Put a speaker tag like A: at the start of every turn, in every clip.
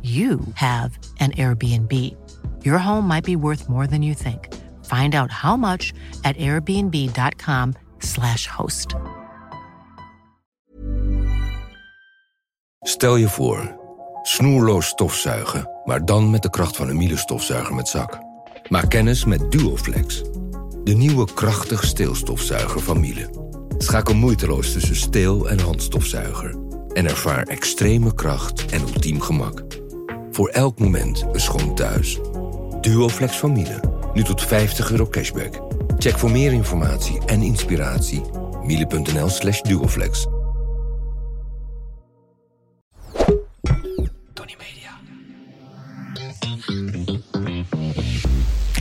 A: you have an Airbnb. Your home might be worth more than you think. Find out how much at airbnb.com/slash host.
B: Stel je voor, snoerloos stofzuigen, maar dan met de kracht van een Miele stofzuiger met zak. Maak kennis met Duoflex, de nieuwe krachtig steelstofzuiger van Miele. Schakel moeiteloos tussen steel- en handstofzuiger en ervaar extreme kracht en ultiem gemak. Voor elk moment een schoon thuis. Duoflex van Miele, nu tot 50 euro cashback. Check voor meer informatie en inspiratie miele.nl slash duoflex.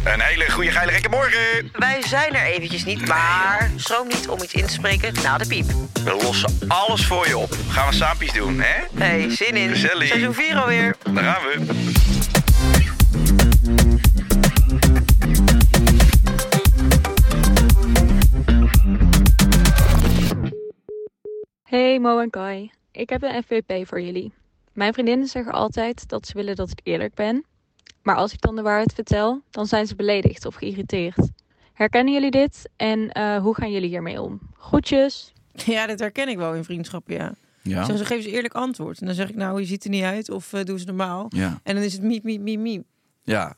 C: Een hele goede geile gekke morgen.
D: Wij zijn er eventjes niet, maar schroom niet om iets in te spreken na de piep.
C: We lossen alles voor je op. Gaan we saampjes doen, hè?
D: Hey, zin in.
C: Gezellig.
D: Seizoen 4 alweer.
C: Daar gaan we.
E: Hey Mo en Kai, ik heb een FVP voor jullie. Mijn vriendinnen zeggen altijd dat ze willen dat ik eerlijk ben. Maar als ik dan de waarheid vertel, dan zijn ze beledigd of geïrriteerd. Herkennen jullie dit en eh, hoe gaan jullie hiermee om? Groetjes!
F: Ja, dat herken ik wel in vriendschappen, ja.
G: Ja.
F: Zo, zo geven ze eerlijk antwoord. En dan zeg ik, nou, je ziet er niet uit. Of eh, doe ze normaal.
G: Ja.
F: En dan is het miep, miep, miep, miep.
G: Ja.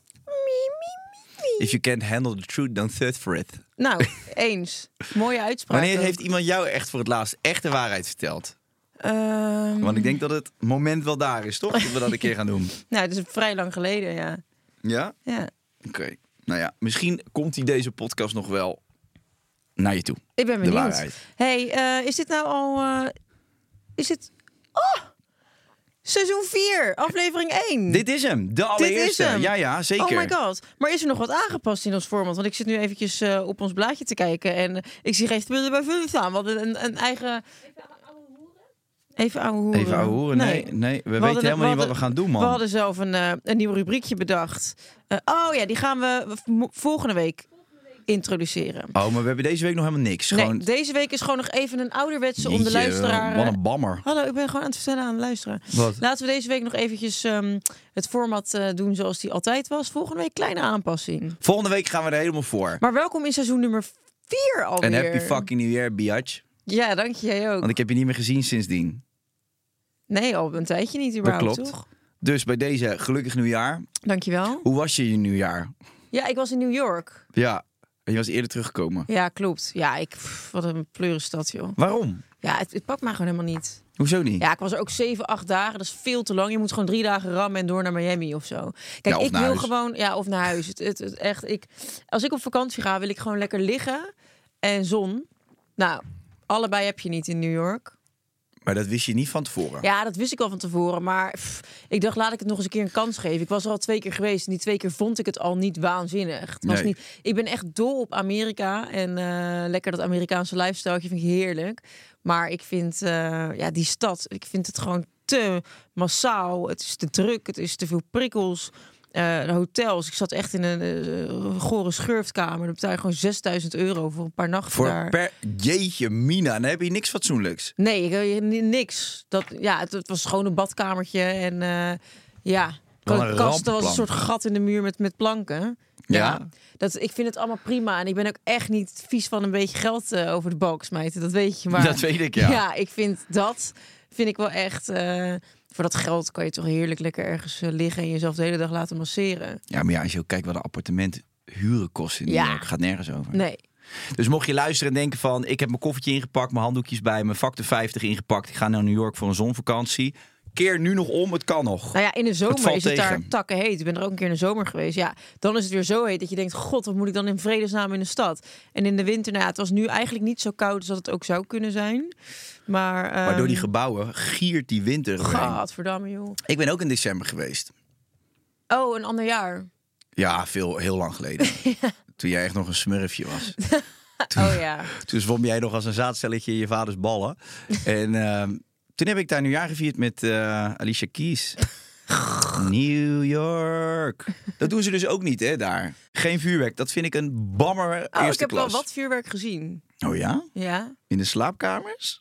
G: If you can't handle the truth, don't search for it.
F: Nou, eens. Mooie uitspraak.
G: Wanneer
F: ook.
G: heeft iemand jou echt voor het laatst echt de waarheid verteld?
F: Ehm,
G: Want ik denk dat het moment wel daar is, toch? Dat we dat een keer gaan doen.
F: Nou, dat is vrij lang geleden, ja.
G: Ja?
F: ja.
G: Oké. Nou ja, misschien komt hij deze podcast nog wel naar je toe.
F: Ik ben
G: De
F: benieuwd.
G: waarheid.
F: hey, eh, is dit nou al... eh, is het... Oh! Seizoen 4, aflevering 1.
G: Dit is hem. De
F: Mm. Dit
G: allereerste.
F: is hem.
G: Ja, ja, zeker.
F: Oh my god. Maar is er nog wat aangepast in ons format? Want ik zit nu eventjes eh, op ons blaadje te kijken en eh, ik zie geen spullen bij vullen staan. We hadden een, een eigen... Even ouwe hoeren.
G: Even ouwe hoeren? Nee, nee, we weten
F: hadden-
G: helemaal niet wat
F: hadden-
G: we gaan doen, man.
F: We hadden zelf een, eh, een nieuw rubriekje bedacht. Eh, oh ja, die gaan we v- mo- volgende week introduceren.
G: Oh, maar we hebben deze week nog helemaal niks. Gewoon...
F: Nee, deze week is gewoon nog even een ouderwetse om de
G: Jeetje,
F: luisteraar... eh,
G: Wat een bammer.
F: Hallo, ik ben gewoon aan het vertellen aan de luisteraar.
G: Wat?
F: Laten we deze week nog eventjes ehm, het format eh, doen zoals die altijd was. Volgende week kleine aanpassing.
G: Volgende week gaan we er helemaal voor.
F: Maar welkom in seizoen nummer 4 alweer.
G: En happy fucking new year, biatch.
F: Ja, dank je jij ook.
G: Want ik heb je niet meer gezien sindsdien.
F: Nee, al een tijdje niet
G: Dat
F: überhaupt,
G: klopt.
F: toch?
G: Dus bij deze, gelukkig nieuwjaar.
F: Dank je wel.
G: Hoe was je je nieuwjaar?
F: Ja, ik was in New York.
G: Ja, en je was eerder teruggekomen.
F: Ja, klopt. Ja, ik, pff, wat een pleurenstad, joh.
G: Waarom?
F: Ja, het, het pakt mij gewoon helemaal niet.
G: Hoezo niet?
F: Ja, ik was er ook 7, 8 dagen. Dat is veel te lang. Je moet gewoon drie dagen rammen en door naar Miami of zo. Kijk,
G: Ja, of
F: ik wil
G: naar huis.
F: gewoon, ja, of naar huis. Het, het, het echt, ik, als ik op vakantie ga, wil ik gewoon lekker liggen en zon. Nou, allebei heb je niet in New York.
G: Maar dat wist je niet van tevoren.
F: Ja, dat wist ik al van tevoren. Maar pff, ik dacht, laat ik het nog eens een keer een kans geven. Ik was er al twee keer geweest. En die twee keer vond ik het al niet waanzinnig. Het was
G: Nee.
F: niet, ik ben echt dol op Amerika. En eh, lekker dat Amerikaanse lifestyle vind ik heerlijk. Maar ik vind eh, ja, die stad, ik vind het gewoon te massaal. Het is te druk, het is te veel prikkels. Eh, de hotels. Ik zat echt in een eh, gore schurftkamer. Dan betaal je gewoon 6000 euro voor een paar nachten
G: Voor
F: daar.
G: per... Jeetje, Mina, dan heb je niks fatsoenlijks.
F: Nee, ik, eh, ni- niks. Dat, ja, het, het was gewoon een badkamertje en eh, ja,
G: Wel
F: Gewoon
G: een
F: kasten was een
G: rampenplan.
F: soort gat in de muur met, met planken.
G: Ja.
F: dat, ik vind het allemaal prima en ik ben ook echt niet vies van een beetje geld eh, over de balk smijten. Dat weet je maar.
G: Dat weet ik, ja.
F: ik vind dat vind ik wel echt. eh, voor dat geld kan je toch heerlijk lekker ergens eh, liggen en jezelf de hele dag laten masseren.
G: Ja, maar ja, als je ook kijkt wat een appartement huren kost in New
F: Ja.
G: York, gaat nergens over.
F: Nee,
G: Dus mocht je luisteren en denken van, ik heb mijn koffertje ingepakt, mijn handdoekjes bij, mijn factor 50 ingepakt, ik ga naar New York voor een zonvakantie. Keer nu nog om, het kan nog.
F: Nou ja, in de zomer
G: valt
F: is het daar
G: tegen.
F: takken heet. Ik ben er ook een keer in de zomer geweest. Ja, dan is het weer zo heet dat je denkt: God, wat moet ik dan in vredesnaam in de stad? En in de winter, nou ja, het was nu eigenlijk niet zo koud als dat het ook zou kunnen zijn. Maar. ehm,
G: Maar door die gebouwen giert die winter. erheen.
F: Gadverdamme, joh.
G: Ik ben ook in december geweest.
F: Oh, een ander jaar.
G: Ja, veel, heel lang geleden. Toen jij echt nog een smurfje was.
F: Oh ja.
G: Toen zwom jij nog als een zaadcelletje in je vaders ballen. En ehm, toen heb ik daar nieuwjaar gevierd met eh, Alicia Keys. New York. Dat doen ze dus ook niet, hè, daar. Geen vuurwerk. Dat vind ik een bammer
F: Oh, ik
G: eerste
F: heb wel
G: klas.
F: wat vuurwerk gezien.
G: Oh ja?
F: Ja.
G: In de slaapkamers?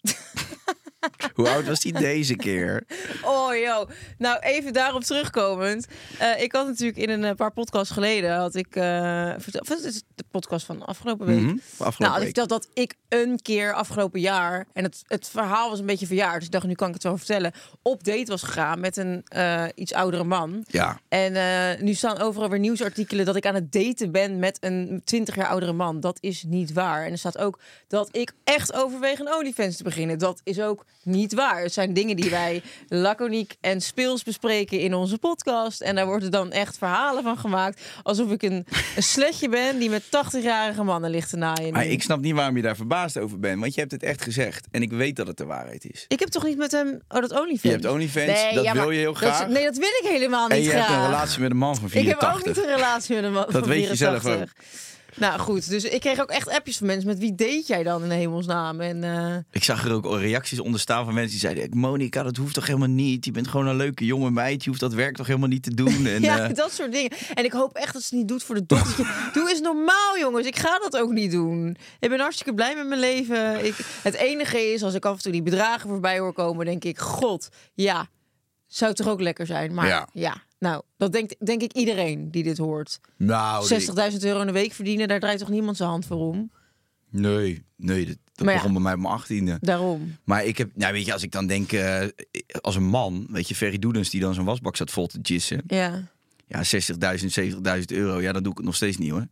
G: Hoe oud was die deze keer? Mhm,
F: Oh joh. Nou, even daarop terugkomend. Eh, ik had natuurlijk in een eh, paar podcasts geleden had ik eh, verteld. Wat is het, de podcast van afgelopen week?
G: Mhm, afgelopen
F: nou, had
G: week.
F: ik verteld dat ik een keer afgelopen jaar en het, het verhaal was een beetje verjaard. Dus ik dacht nu kan ik het wel vertellen. Op date was gegaan met een eh, iets oudere man.
G: Ja.
F: En eh, nu staan overal weer nieuwsartikelen dat ik aan het daten ben met een 20 jaar oudere man. Dat is niet waar. En er staat ook dat ik echt overweeg een OnlyFans te beginnen. Dat is ook niet waar. Het zijn dingen die wij laconiek en speels bespreken in onze podcast. En daar worden dan echt verhalen van gemaakt. Alsof ik een, een sletje ben die met 80-jarige mannen ligt te naaien.
G: Maar ik snap niet waarom je daar verbaasd over bent. Want je hebt het echt gezegd. En ik weet dat het de waarheid is.
F: Ik heb toch niet met hem... Oh, dat OnlyFans.
G: Je hebt OnlyFans, dat wil
F: maar
G: je heel
F: dat-
G: graag.
F: nee, dat wil ik helemaal niet
G: En je
F: graag.
G: hebt een relatie met een man van
F: Ik heb
G: 84.
F: ook niet een relatie met een man
G: Dat
F: van
G: weet je zelf
F: 84. Nou goed, dus ik kreeg ook echt appjes van mensen. Met wie deed jij dan in hemelsnaam? En eh,
G: Ik zag er ook al reacties onder staan van mensen die zeiden... Monika, dat hoeft toch helemaal niet? Je bent gewoon een leuke jonge meid. Je hoeft dat werk toch helemaal niet te doen? En,
F: ja,
G: eh,
F: dat soort dingen. En ik hoop echt dat ze het niet doet voor de dochter. Doe eens normaal, jongens. Ik ga dat ook niet doen. Ik ben hartstikke blij met mijn leven. Ik, het enige is, als ik af en toe die bedragen voorbij hoor komen, denk ik: God, ja, zou toch ook lekker zijn. Maar
G: Ja.
F: ja, nou, dat denkt denk ik iedereen die dit hoort.
G: nou, nee.
F: 60.000 euro in de week verdienen, daar draait toch niemand zijn hand voor om?
G: nee, nee, dat, dat
F: Maar ja.
G: begon bij mij op mijn achttiende.
F: Daarom.
G: Maar ik heb, nou weet je, als ik dan denk, eh, als een man, weet je, Ferry Doedens die dan zijn wasbak zat vol te gissen.
F: Ja.
G: Ja, 60.000, 70.000 euro, ja, dan doe ik het nog steeds niet hoor.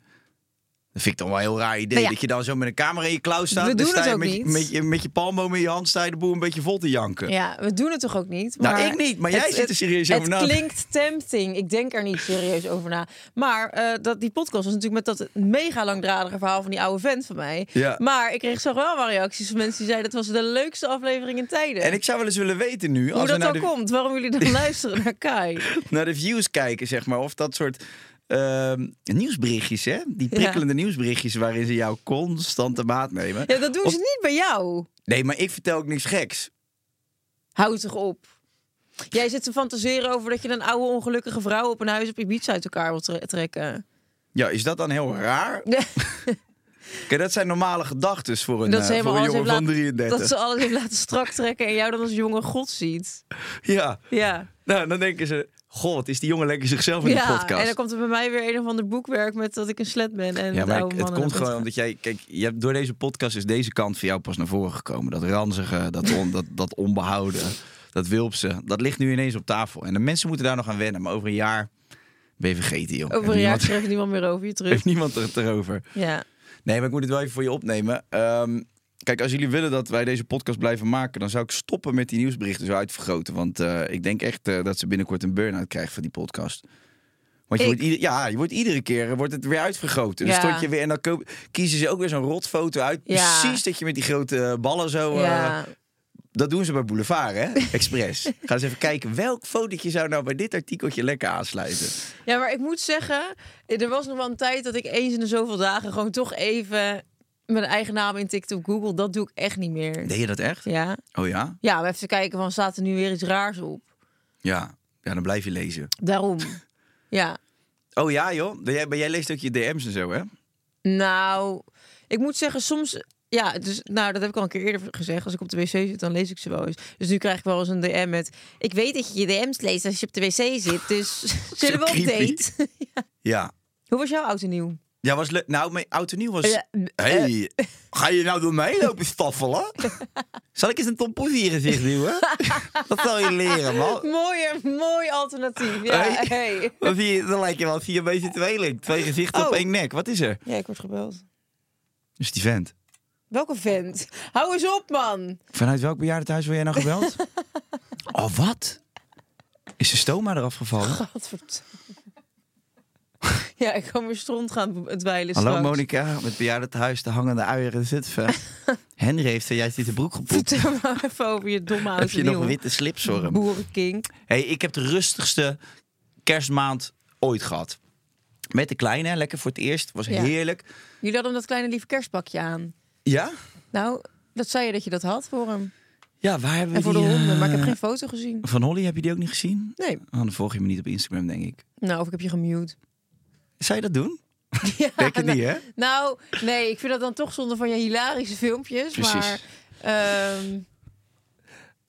G: Dat vind ik dan wel een heel raar idee.
F: Maar Nou ja.
G: Dat je dan zo met een camera in je klauw staat.
F: We
G: dan
F: doen
G: sta
F: het
G: je
F: ook
G: met, je-
F: niet.
G: Met, je, met je palmboom in je hand sta je de boel een beetje vol te janken.
F: Ja, we doen het toch ook niet?
G: Nou, ik niet, maar jij zit er serieus
F: het
G: over na.
F: Het klinkt tempting. Ik denk er niet serieus over na. Maar eh, dat, die podcast was natuurlijk met dat mega langdradige verhaal van die oude vent van mij.
G: Ja.
F: Maar ik kreeg zo wel wat reacties van mensen die zeiden... dat was de leukste aflevering in tijden.
G: En ik zou wel eens willen weten nu,
F: Hoe
G: als we
F: dat
G: naar
F: dan
G: de,
F: komt, waarom jullie dan luisteren naar Kai.
G: naar de views kijken, zeg maar, of dat soort ehm, nieuwsberichtjes, hè? Die
F: Ja.
G: prikkelende nieuwsberichtjes waarin ze jou constant de maat nemen.
F: Ja, dat doen
G: Of-
F: ze niet bij jou.
G: Nee, maar ik vertel ook niks geks.
F: Houd toch op. Jij zit te fantaseren over dat je een oude ongelukkige vrouw... op een huis op Ibiza uit elkaar wil tre- trekken.
G: Ja, is dat dan heel raar? Kijk, dat zijn normale gedachten voor een,
F: dat, ze
G: eh, voor
F: helemaal
G: een
F: alles
G: jongen
F: heeft
G: van
F: laten,
G: 33.
F: dat ze alles heeft laten strak trekken en jou dan als jonge god ziet.
G: Ja,
F: Ja.
G: nou, dan denken ze... God, wat is die jongen lekker zichzelf in
F: ja,
G: de podcast?
F: en dan komt er bij mij weer een of ander boekwerk met dat ik een slet ben. En
G: ja,
F: met
G: maar
F: oude
G: ik- het
F: mannen
G: komt
F: en
G: gewoon
F: dat-
G: omdat jij... Kijk, je hebt, door deze podcast is deze kant van jou pas naar voren gekomen. Dat ranzige, dat, on- dat, dat onbehouden, dat wilpse. Dat ligt nu ineens op tafel. En de mensen moeten daar nog aan wennen. Maar over een jaar ben je vergeten, joh.
F: Over een jaar
G: Heeft niemand-
F: schrijft niemand meer over je terug.
G: Heeft niemand het erover.
F: Ja.
G: Nee, maar ik moet het wel even voor je opnemen. Ehm, kijk, als jullie willen dat wij deze podcast blijven maken, dan zou ik stoppen met die nieuwsberichten zo uitvergroten. Want eh, ik denk echt eh, dat ze binnenkort een burn-out krijgt van die podcast. Want je
F: Ik?
G: wordt, ieder- ja, je wordt iedere keer eh, wordt het weer uitvergroten. Dan
F: Ja.
G: stond je weer en dan ko- kiezen ze ook weer zo'n rotfoto uit.
F: Ja.
G: Precies dat je met die grote eh, ballen zo. eh,
F: ja.
G: dat doen ze bij Boulevard, hè? Expres. Ga eens even kijken welk fotootje zou nou bij dit artikeltje lekker aansluiten.
F: ja, maar ik moet zeggen, er was nog wel een tijd dat ik eens in de zoveel dagen gewoon toch even mijn eigen naam in TikTok Google. Dat doe ik echt niet meer.
G: Deed je dat echt?
F: Ja.
G: Oh ja?
F: Ja, maar even te kijken van staat er nu weer iets raars op.
G: Ja. Ja, dan blijf je lezen.
F: Daarom. Ja.
G: Oh ja, joh. Maar jij, maar jij leest ook je DM's en zo, hè?
F: Nou, ik moet zeggen, soms. Ja, dus, nou, dat heb ik al een keer eerder gezegd. Als ik op de wc zit, dan lees ik ze wel eens. Dus nu krijg ik wel eens een DM met... Ik weet dat je je DM's leest als je op de wc zit, dus zullen we op
G: creepy.
F: date?
G: Ja.
F: Hoe was jouw oud en nieuw?
G: Ja, was leuk. Nou, mijn oud en nieuw was...
F: Ja, eh.
G: hey, ga je nou door mij lopen staffelen? Zal ik eens een tompoes in je gezicht duwen? Dat zal je leren, man.
F: Mooie, mooi alternatief. Ja,
G: Hey.
F: hey.
G: Dan, zie je, dan lijkt je wel zie je een beetje tweeling. Twee gezichten op
F: Oh.
G: één nek. Wat is er?
F: ja, ik word gebeld.
G: Dus die vent.
F: Welke vent? Hou eens op, man.
G: Vanuit welk bejaardentehuis word jij nou gebeld? oh, wat? Is de stoma eraf gevallen?
F: Wat Ja, ik kan weer stront gaan dweilen
G: Hallo
F: straks.
G: Monika, met bejaardentehuis de hangende uier in Zutphen. Henry heeft er juist in de broek gepoept.
F: Vertel maar even over je domme oud
G: Heb je
F: en
G: nog een
F: nieuw.
G: witte slipstorm?
F: Boerenkink.
G: Hey, ik heb de rustigste kerstmaand ooit gehad. Met de kleine, lekker voor het eerst. Was
F: Ja.
G: heerlijk.
F: Jullie hadden hem dat kleine lieve kerstbakje aan.
G: Ja?
F: Nou, dat zei je dat je dat had voor hem.
G: Ja, waar hebben we
F: En voor de
G: die,
F: honden. Maar ik heb
G: eh,
F: geen foto gezien.
G: Van Holly, heb je die ook niet gezien?
F: Nee.
G: Oh, dan volg je me niet op Instagram, denk ik.
F: Nou, of ik heb je gemute.
G: Zou je dat doen?
F: Ja,
G: Denk het
F: nou-
G: niet, hè?
F: Nou, nee, ik vind dat dan toch zonde van je hilarische filmpjes.
G: Precies.
F: Maar ehm,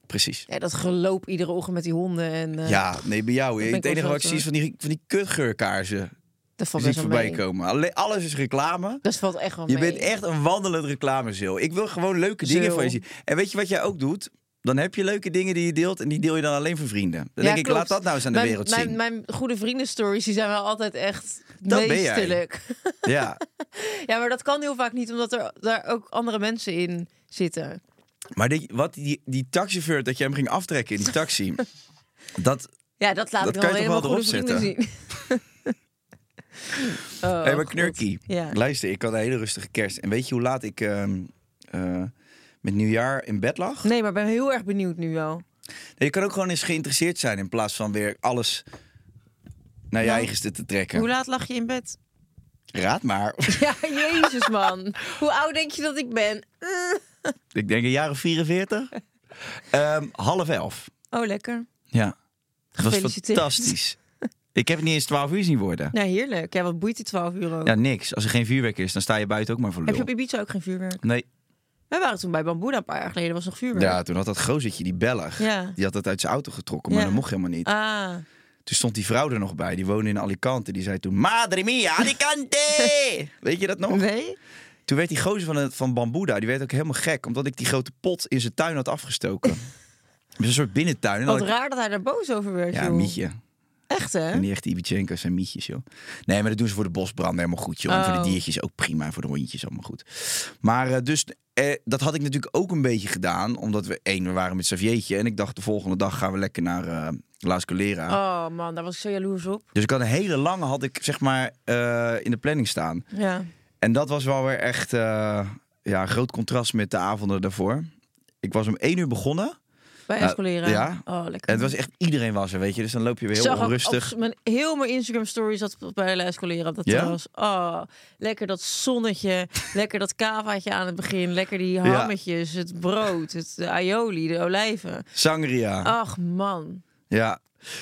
G: Precies.
F: ja, dat geloop iedere ochtend met die honden. En, eh,
G: Ja, nee, bij jou.
F: ben ik
G: Het
F: wel
G: enige wat
F: zat,
G: ik zie is
F: hoor.
G: van die, van die kutgeurkaarsen.
F: dat valt
G: Die
F: best
G: ik
F: wel
G: voorbij
F: mee.
G: komen. Alleen, alles is reclame.
F: Dat valt echt wel
G: Je
F: mee.
G: bent echt een wandelend reclamezeel. Ik wil gewoon leuke dingen
F: Zeel.
G: van je zien. En weet je wat jij ook doet? Dan heb je leuke dingen die je deelt en die deel je dan alleen voor vrienden. Dan
F: Ja,
G: denk ik,
F: klopt.
G: laat dat nou eens aan de
F: mijn,
G: wereld
F: mijn,
G: zien.
F: mijn goede vrienden stories die zijn wel altijd echt
G: Dat ben jij.
F: meesterlijk.
G: Ja,
F: Ja, maar dat kan heel vaak niet, omdat er daar ook andere mensen in zitten.
G: maar die, wat die, die taxichauffeur, dat je hem ging aftrekken in die taxi. dat,
F: Ja, dat laat
G: Dat
F: ik
G: kan
F: dan
G: je toch
F: helemaal
G: wel
F: goede
G: erop
F: vrienden zien. oh,
G: Hé, maar
F: God.
G: knurkie.
F: Ja.
G: Luister, ik had een hele rustige kerst. En weet je hoe laat ik ehm, eh, met nieuwjaar in bed lag?
F: Nee, maar ik ben heel erg benieuwd nu wel.
G: Je kan ook gewoon eens geïnteresseerd zijn in plaats van weer alles naar je
F: Nou,
G: eigenste te trekken.
F: Hoe laat lag je in bed?
G: Raad maar.
F: Ja, jezus man. Hoe oud denk je dat ik ben?
G: ik denk een jaar of 44. Ehm, half elf.
F: Oh, lekker.
G: Ja. Dat was
F: Gefeliciteerd.
G: fantastisch. Ik heb het niet eens 12 uur zien worden.
F: Nou, heerlijk. Ja, wat boeit die 12 euro?
G: Ja, niks. Als er geen vuurwerk is, dan sta je buiten ook maar voor
F: Heb je
G: lul.
F: op Ibiza ook geen vuurwerk?
G: Nee.
F: Wij waren toen bij Bambuda een paar jaar geleden, was nog vuurwerk.
G: Ja, toen had dat gozertje, die Belg,
F: Ja.
G: die had dat uit zijn auto getrokken, maar
F: Ja.
G: dat mocht helemaal niet.
F: Ah,
G: Toen stond die vrouw er nog bij, die woonde in Alicante. Die zei toen, madre mia, Alicante! Weet je dat nog?
F: nee?
G: Toen werd die gozer van, het, van Bambuda, die werd ook helemaal gek. Omdat ik die grote pot in zijn tuin had afgestoken. Dus een soort binnentuin. En dan
F: Wat
G: had ik-
F: raar dat hij daar boos over werd,
G: Ja,
F: joh.
G: mietje.
F: Echt, hè?
G: En die echte Ibichenko's zijn mietjes, joh. Nee, maar dat doen ze voor de bosbranden helemaal goed, joh. En voor
F: Oh.
G: de diertjes ook prima. En voor de hondjes allemaal goed. Maar eh, dus, eh, dat had ik natuurlijk ook een beetje gedaan. Omdat we, één, we waren met Xaviertje. En ik dacht, de volgende dag gaan we lekker naar eh La Scalera.
F: Oh man, daar was ik zo jaloers op.
G: Dus ik had een hele lange, had ik zeg maar, eh, in de planning staan.
F: Ja.
G: En dat was wel weer echt eh, ja, een groot contrast met de avonden daarvoor. Ik was om één uur begonnen.
F: Bij
G: Nou,
F: Escolera.
G: ja.
F: Oh,
G: En
F: lekker.
G: het was echt, iedereen was er, weet je. Dus dan loop je weer
F: Ik
G: heel
F: zag ook
G: onrustig.
F: op mijn, heel mijn Instagram story zat op- bij de Escolera op dat
G: Ja?
F: terras. Oh, lekker dat zonnetje, lekker dat kavaatje aan het begin, lekker die hammetjes, het brood, het de aioli, de olijven.
G: Sangria.
F: Ach man.
G: Ja.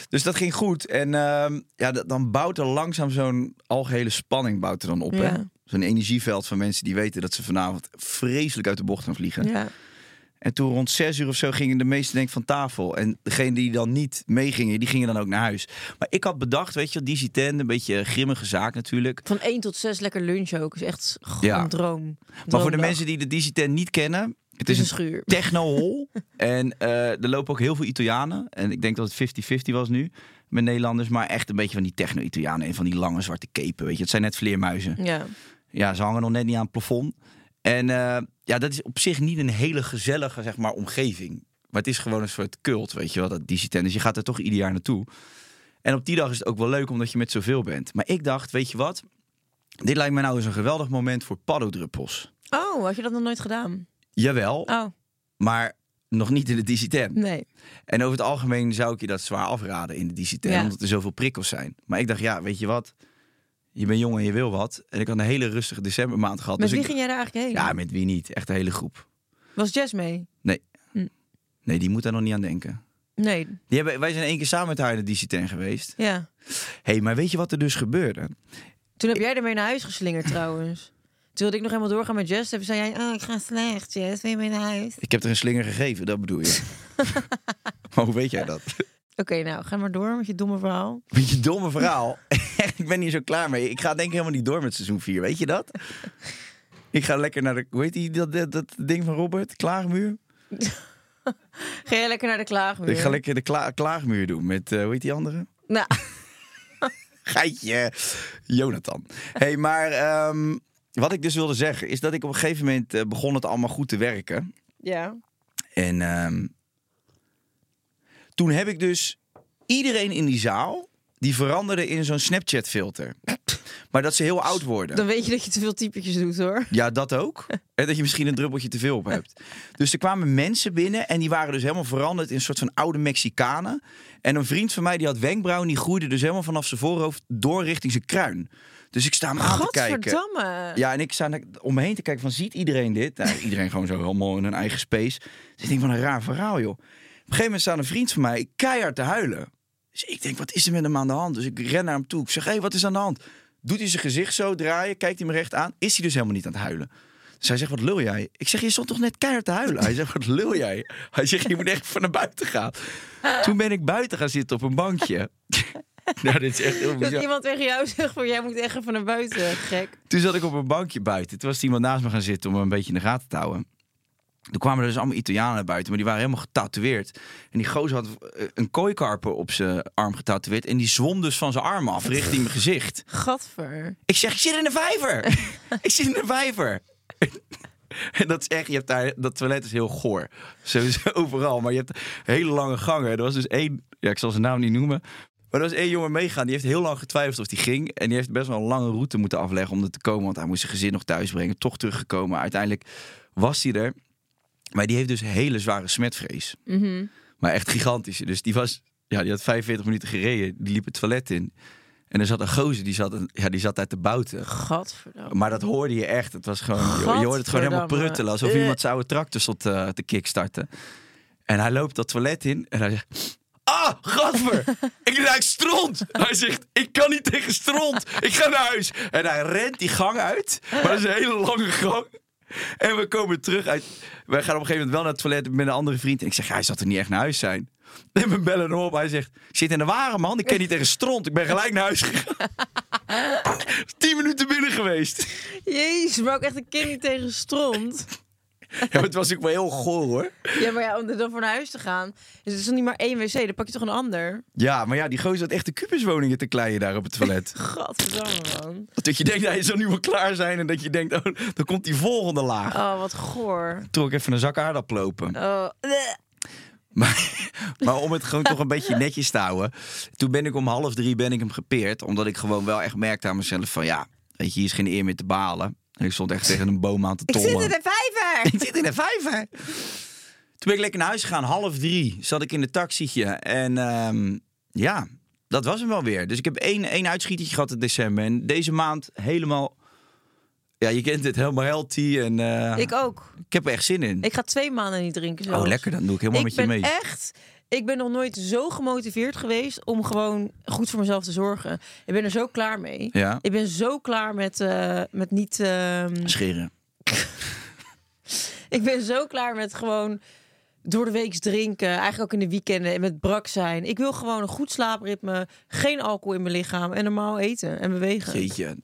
G: Dus dat ging goed. En ehm, ja, dat- dan bouwt er langzaam zo'n algehele spanning bouwt er dan op. hè?
F: Ja.
G: Zo'n energieveld van mensen die weten dat ze vanavond vreselijk uit de bocht gaan vliegen.
F: Ja.
G: En toen rond zes uur of zo gingen de meesten denk ik van tafel. En degene die dan niet meegingen, die gingen dan ook naar huis. Maar ik had bedacht, weet je, wel, die zitende, een beetje grimmige zaak natuurlijk.
F: Van 1 tot 6 lekker lunch ook. Is echt goh,
G: Ja.
F: een droom.
G: Maar voor de
F: Droomdag.
G: mensen die de Digiten niet kennen, het
F: Het
G: is
F: is een
G: een
F: schuur.
G: techno-hol. en eh, er lopen ook heel veel Italianen. En ik denk dat het 50-50 was nu met Nederlanders. Maar echt een beetje van die techno-Italianen. En van die lange zwarte kepen, weet je. Het zijn net vleermuizen.
F: Ja.
G: Ja, ze hangen nog net niet aan het plafond. En eh, ja, dat is op zich niet een hele gezellige, zeg maar, omgeving. Maar het is gewoon een soort cult, weet je wel, dat Digiten. Dus je gaat er toch ieder jaar naartoe. En op die dag is het ook wel leuk, omdat je met zoveel bent. Maar ik dacht, weet je wat? Dit lijkt me nou eens een geweldig moment voor paddo-druppels.
F: Oh, had je dat nog nooit gedaan?
G: Jawel,
F: Oh,
G: maar nog niet in de DCTM.
F: nee.
G: En over het algemeen zou ik je dat zwaar afraden in de DCTM,
F: Ja.
G: omdat er zoveel prikkels zijn. Maar ik dacht, ja, weet je wat? Je bent jong en je wil wat. En ik had een hele rustige decembermaand gehad.
F: Met
G: dus
F: wie
G: ik...
F: ging jij daar eigenlijk heen?
G: Ja, met wie niet. Echt een hele groep.
F: Was Jess mee?
G: Nee, die moet daar nog niet aan denken.
F: Nee.
G: Die hebben... Wij zijn één keer samen met haar in de DCTM geweest.
F: Ja.
G: hey, maar weet je wat er dus gebeurde?
F: Toen heb jij ermee naar huis geslingerd trouwens. Toen wilde ik nog helemaal doorgaan met Jess. Toen zei jij, oh, ik ga slecht, Jess. Wil je mee naar huis? Oké,
G: Ik heb er een slinger gegeven, dat bedoel je. maar hoe weet jij dat?
F: nou, ga maar door met je domme verhaal.
G: Met je domme verhaal. ik ben hier zo klaar mee. Ik ga denk ik helemaal niet door met seizoen 4, weet je dat? ik ga lekker naar de... Hoe heet die, dat, dat, dat ding van Robert? Klaagmuur?
F: Ga jij lekker naar de klaagmuur?
G: Ik ga lekker de kla- klaagmuur doen met... eh, hoe heet die andere?
F: Nou,
G: Geitje. Jonathan. hey, maar ehm, wat ik dus wilde zeggen... is dat ik op een gegeven moment eh, begon het allemaal goed te werken.
F: ja.
G: En ehm, toen heb ik dus iedereen in die zaal... die veranderde in zo'n Snapchat-filter. Maar dat ze heel oud worden.
F: Dan weet je dat je te veel typetjes doet hoor.
G: Ja, dat ook. En dat je misschien een druppeltje te veel op hebt. Dus er kwamen mensen binnen en die waren dus helemaal veranderd in een soort van oude Mexicanen. En een vriend van mij die had wenkbrauwen, die groeide dus helemaal vanaf zijn voorhoofd door richting zijn kruin. Dus ik sta hem aan te kijken.
F: Godverdamme.
G: Ja, en ik sta naar- om me heen te kijken van, ziet iedereen dit? Nou, iedereen gewoon zo helemaal in hun eigen space. Dus ik denk, van een raar verhaal, joh. Op een gegeven moment staat een vriend van mij keihard te huilen. Dus ik denk, wat is er met hem aan de hand? Dus ik ren naar hem toe. Ik zeg, hé, hey, wat is aan de hand? Doet hij zijn gezicht zo draaien, kijkt hij me recht aan. Is hij dus helemaal niet aan het huilen. Dus hij zegt, wat lul jij? Ik zeg, je stond toch net keihard te huilen? Hij zegt, wat lul jij? Hij zegt, je moet echt van naar buiten gaan. Toen ben ik buiten gaan zitten op een bankje. nou, dit is echt
F: Dat
G: heel bizar.
F: iemand tegen jou zegt van jij moet echt even naar buiten, gek.
G: Toen zat ik op een bankje buiten. Toen was er iemand naast me gaan zitten om me een beetje in de gaten te houden. Toen kwamen er dus allemaal Italianen naar buiten, maar die waren helemaal getatoeëerd. En die gozer had eh, een kooikarper op zijn arm getatoeëerd. En die zwom dus van zijn arm af richting mijn gezicht.
F: Gadver.
G: Ik zeg, ik zit in een vijver! ik zit in een vijver! en dat is echt, je hebt daar, dat toilet is heel goor. Sowieso overal, maar je hebt hele lange gangen. Er was dus één, ja, ik zal zijn naam niet noemen. Maar er was één jongen meegaan, die heeft heel lang getwijfeld of die ging. En die heeft best wel een lange route moeten afleggen om er te komen. Want hij moest zijn gezin nog thuis brengen, toch teruggekomen. Uiteindelijk was hij er. Maar die heeft dus hele zware smetvrees. Maar echt gigantisch. Dus die was, ja, die had 45 minuten gereden. Die liep het toilet in. En er zat een gozer, die zat, ja, die zat daar te bouten.
F: Gadverdamme.
G: Maar dat hoorde je echt. Het was gewoon, je, je hoorde het gewoon helemaal
F: Gadverdamme.
G: pruttelen. Alsof
F: Eh.
G: iemand zijn oude tractor stond eh, te kickstarten. En hij loopt dat toilet in en hij zegt... Ah, gadver! ik ruik stront! Hij zegt, ik kan niet tegen stront. Ik ga naar huis. En hij rent die gang uit. Maar dat is een hele lange gang. En we komen terug uit... Wij gaan op een gegeven moment wel naar het toilet met een andere vriend. En ik zeg, hij zal er niet echt naar huis zijn. En we bellen hem op. Hij zegt, ik zit in de waren, man. Ik ken niet tegen stront. Ik ben gelijk naar huis gegaan. Tien minuten binnen geweest.
F: Jezus, maar ook echt een kind die tegen stront.
G: Ja, maar het was ook wel heel goor hoor.
F: Ja, maar ja, om er dan voor naar huis te gaan. Is het toch niet maar één wc, dan pak je toch een ander?
G: Ja, maar ja, die gozer had echt de kubuswoningen te kleien daar op het toilet.
F: Gadverdamme, man.
G: dat je denkt, hij zal nu wel klaar zijn. En dat je denkt, oh, dan komt die volgende laag.
F: Oh, wat goor.
G: Toen ik even een zak aardappel lopen.
F: Oh, bleh.
G: Maar, maar om het gewoon toch een beetje netjes te houden. Toen ben ik om half drie ben ik hem gepeerd. Omdat ik gewoon wel echt merkte aan mezelf van ja, weet je, hier is geen eer meer te balen. En ik stond echt tegen een boom aan te
F: ik
G: tollen.
F: zit in de vijver.
G: Ik zit in een vijver. Toen ben ik lekker naar huis gegaan, half drie zat ik in het taxietje. En ehm, ja, dat was hem wel weer. Dus ik heb één, één uitschietertje gehad in december. En deze maand helemaal, ja, je kent het, helemaal healthy. En eh, ik,
F: Ik ook.
G: heb er echt zin in.
F: Ik ga twee maanden niet drinken. Zelfs.
G: oh, lekker, dan doe ik helemaal
F: ik
G: met je
F: ben
G: mee.
F: echt... Ik ben nog nooit zo gemotiveerd geweest om gewoon goed voor mezelf te zorgen. Ik ben er zo klaar mee.
G: Ja.
F: Ik ben zo klaar met, eh, met niet... ehm,
G: Scheren.
F: ik ben zo klaar met gewoon door de week drinken. Eigenlijk ook in de weekenden en met brak zijn. Ik wil gewoon een goed slaapritme. Geen alcohol in mijn lichaam. En normaal eten en bewegen.
G: Jeetje.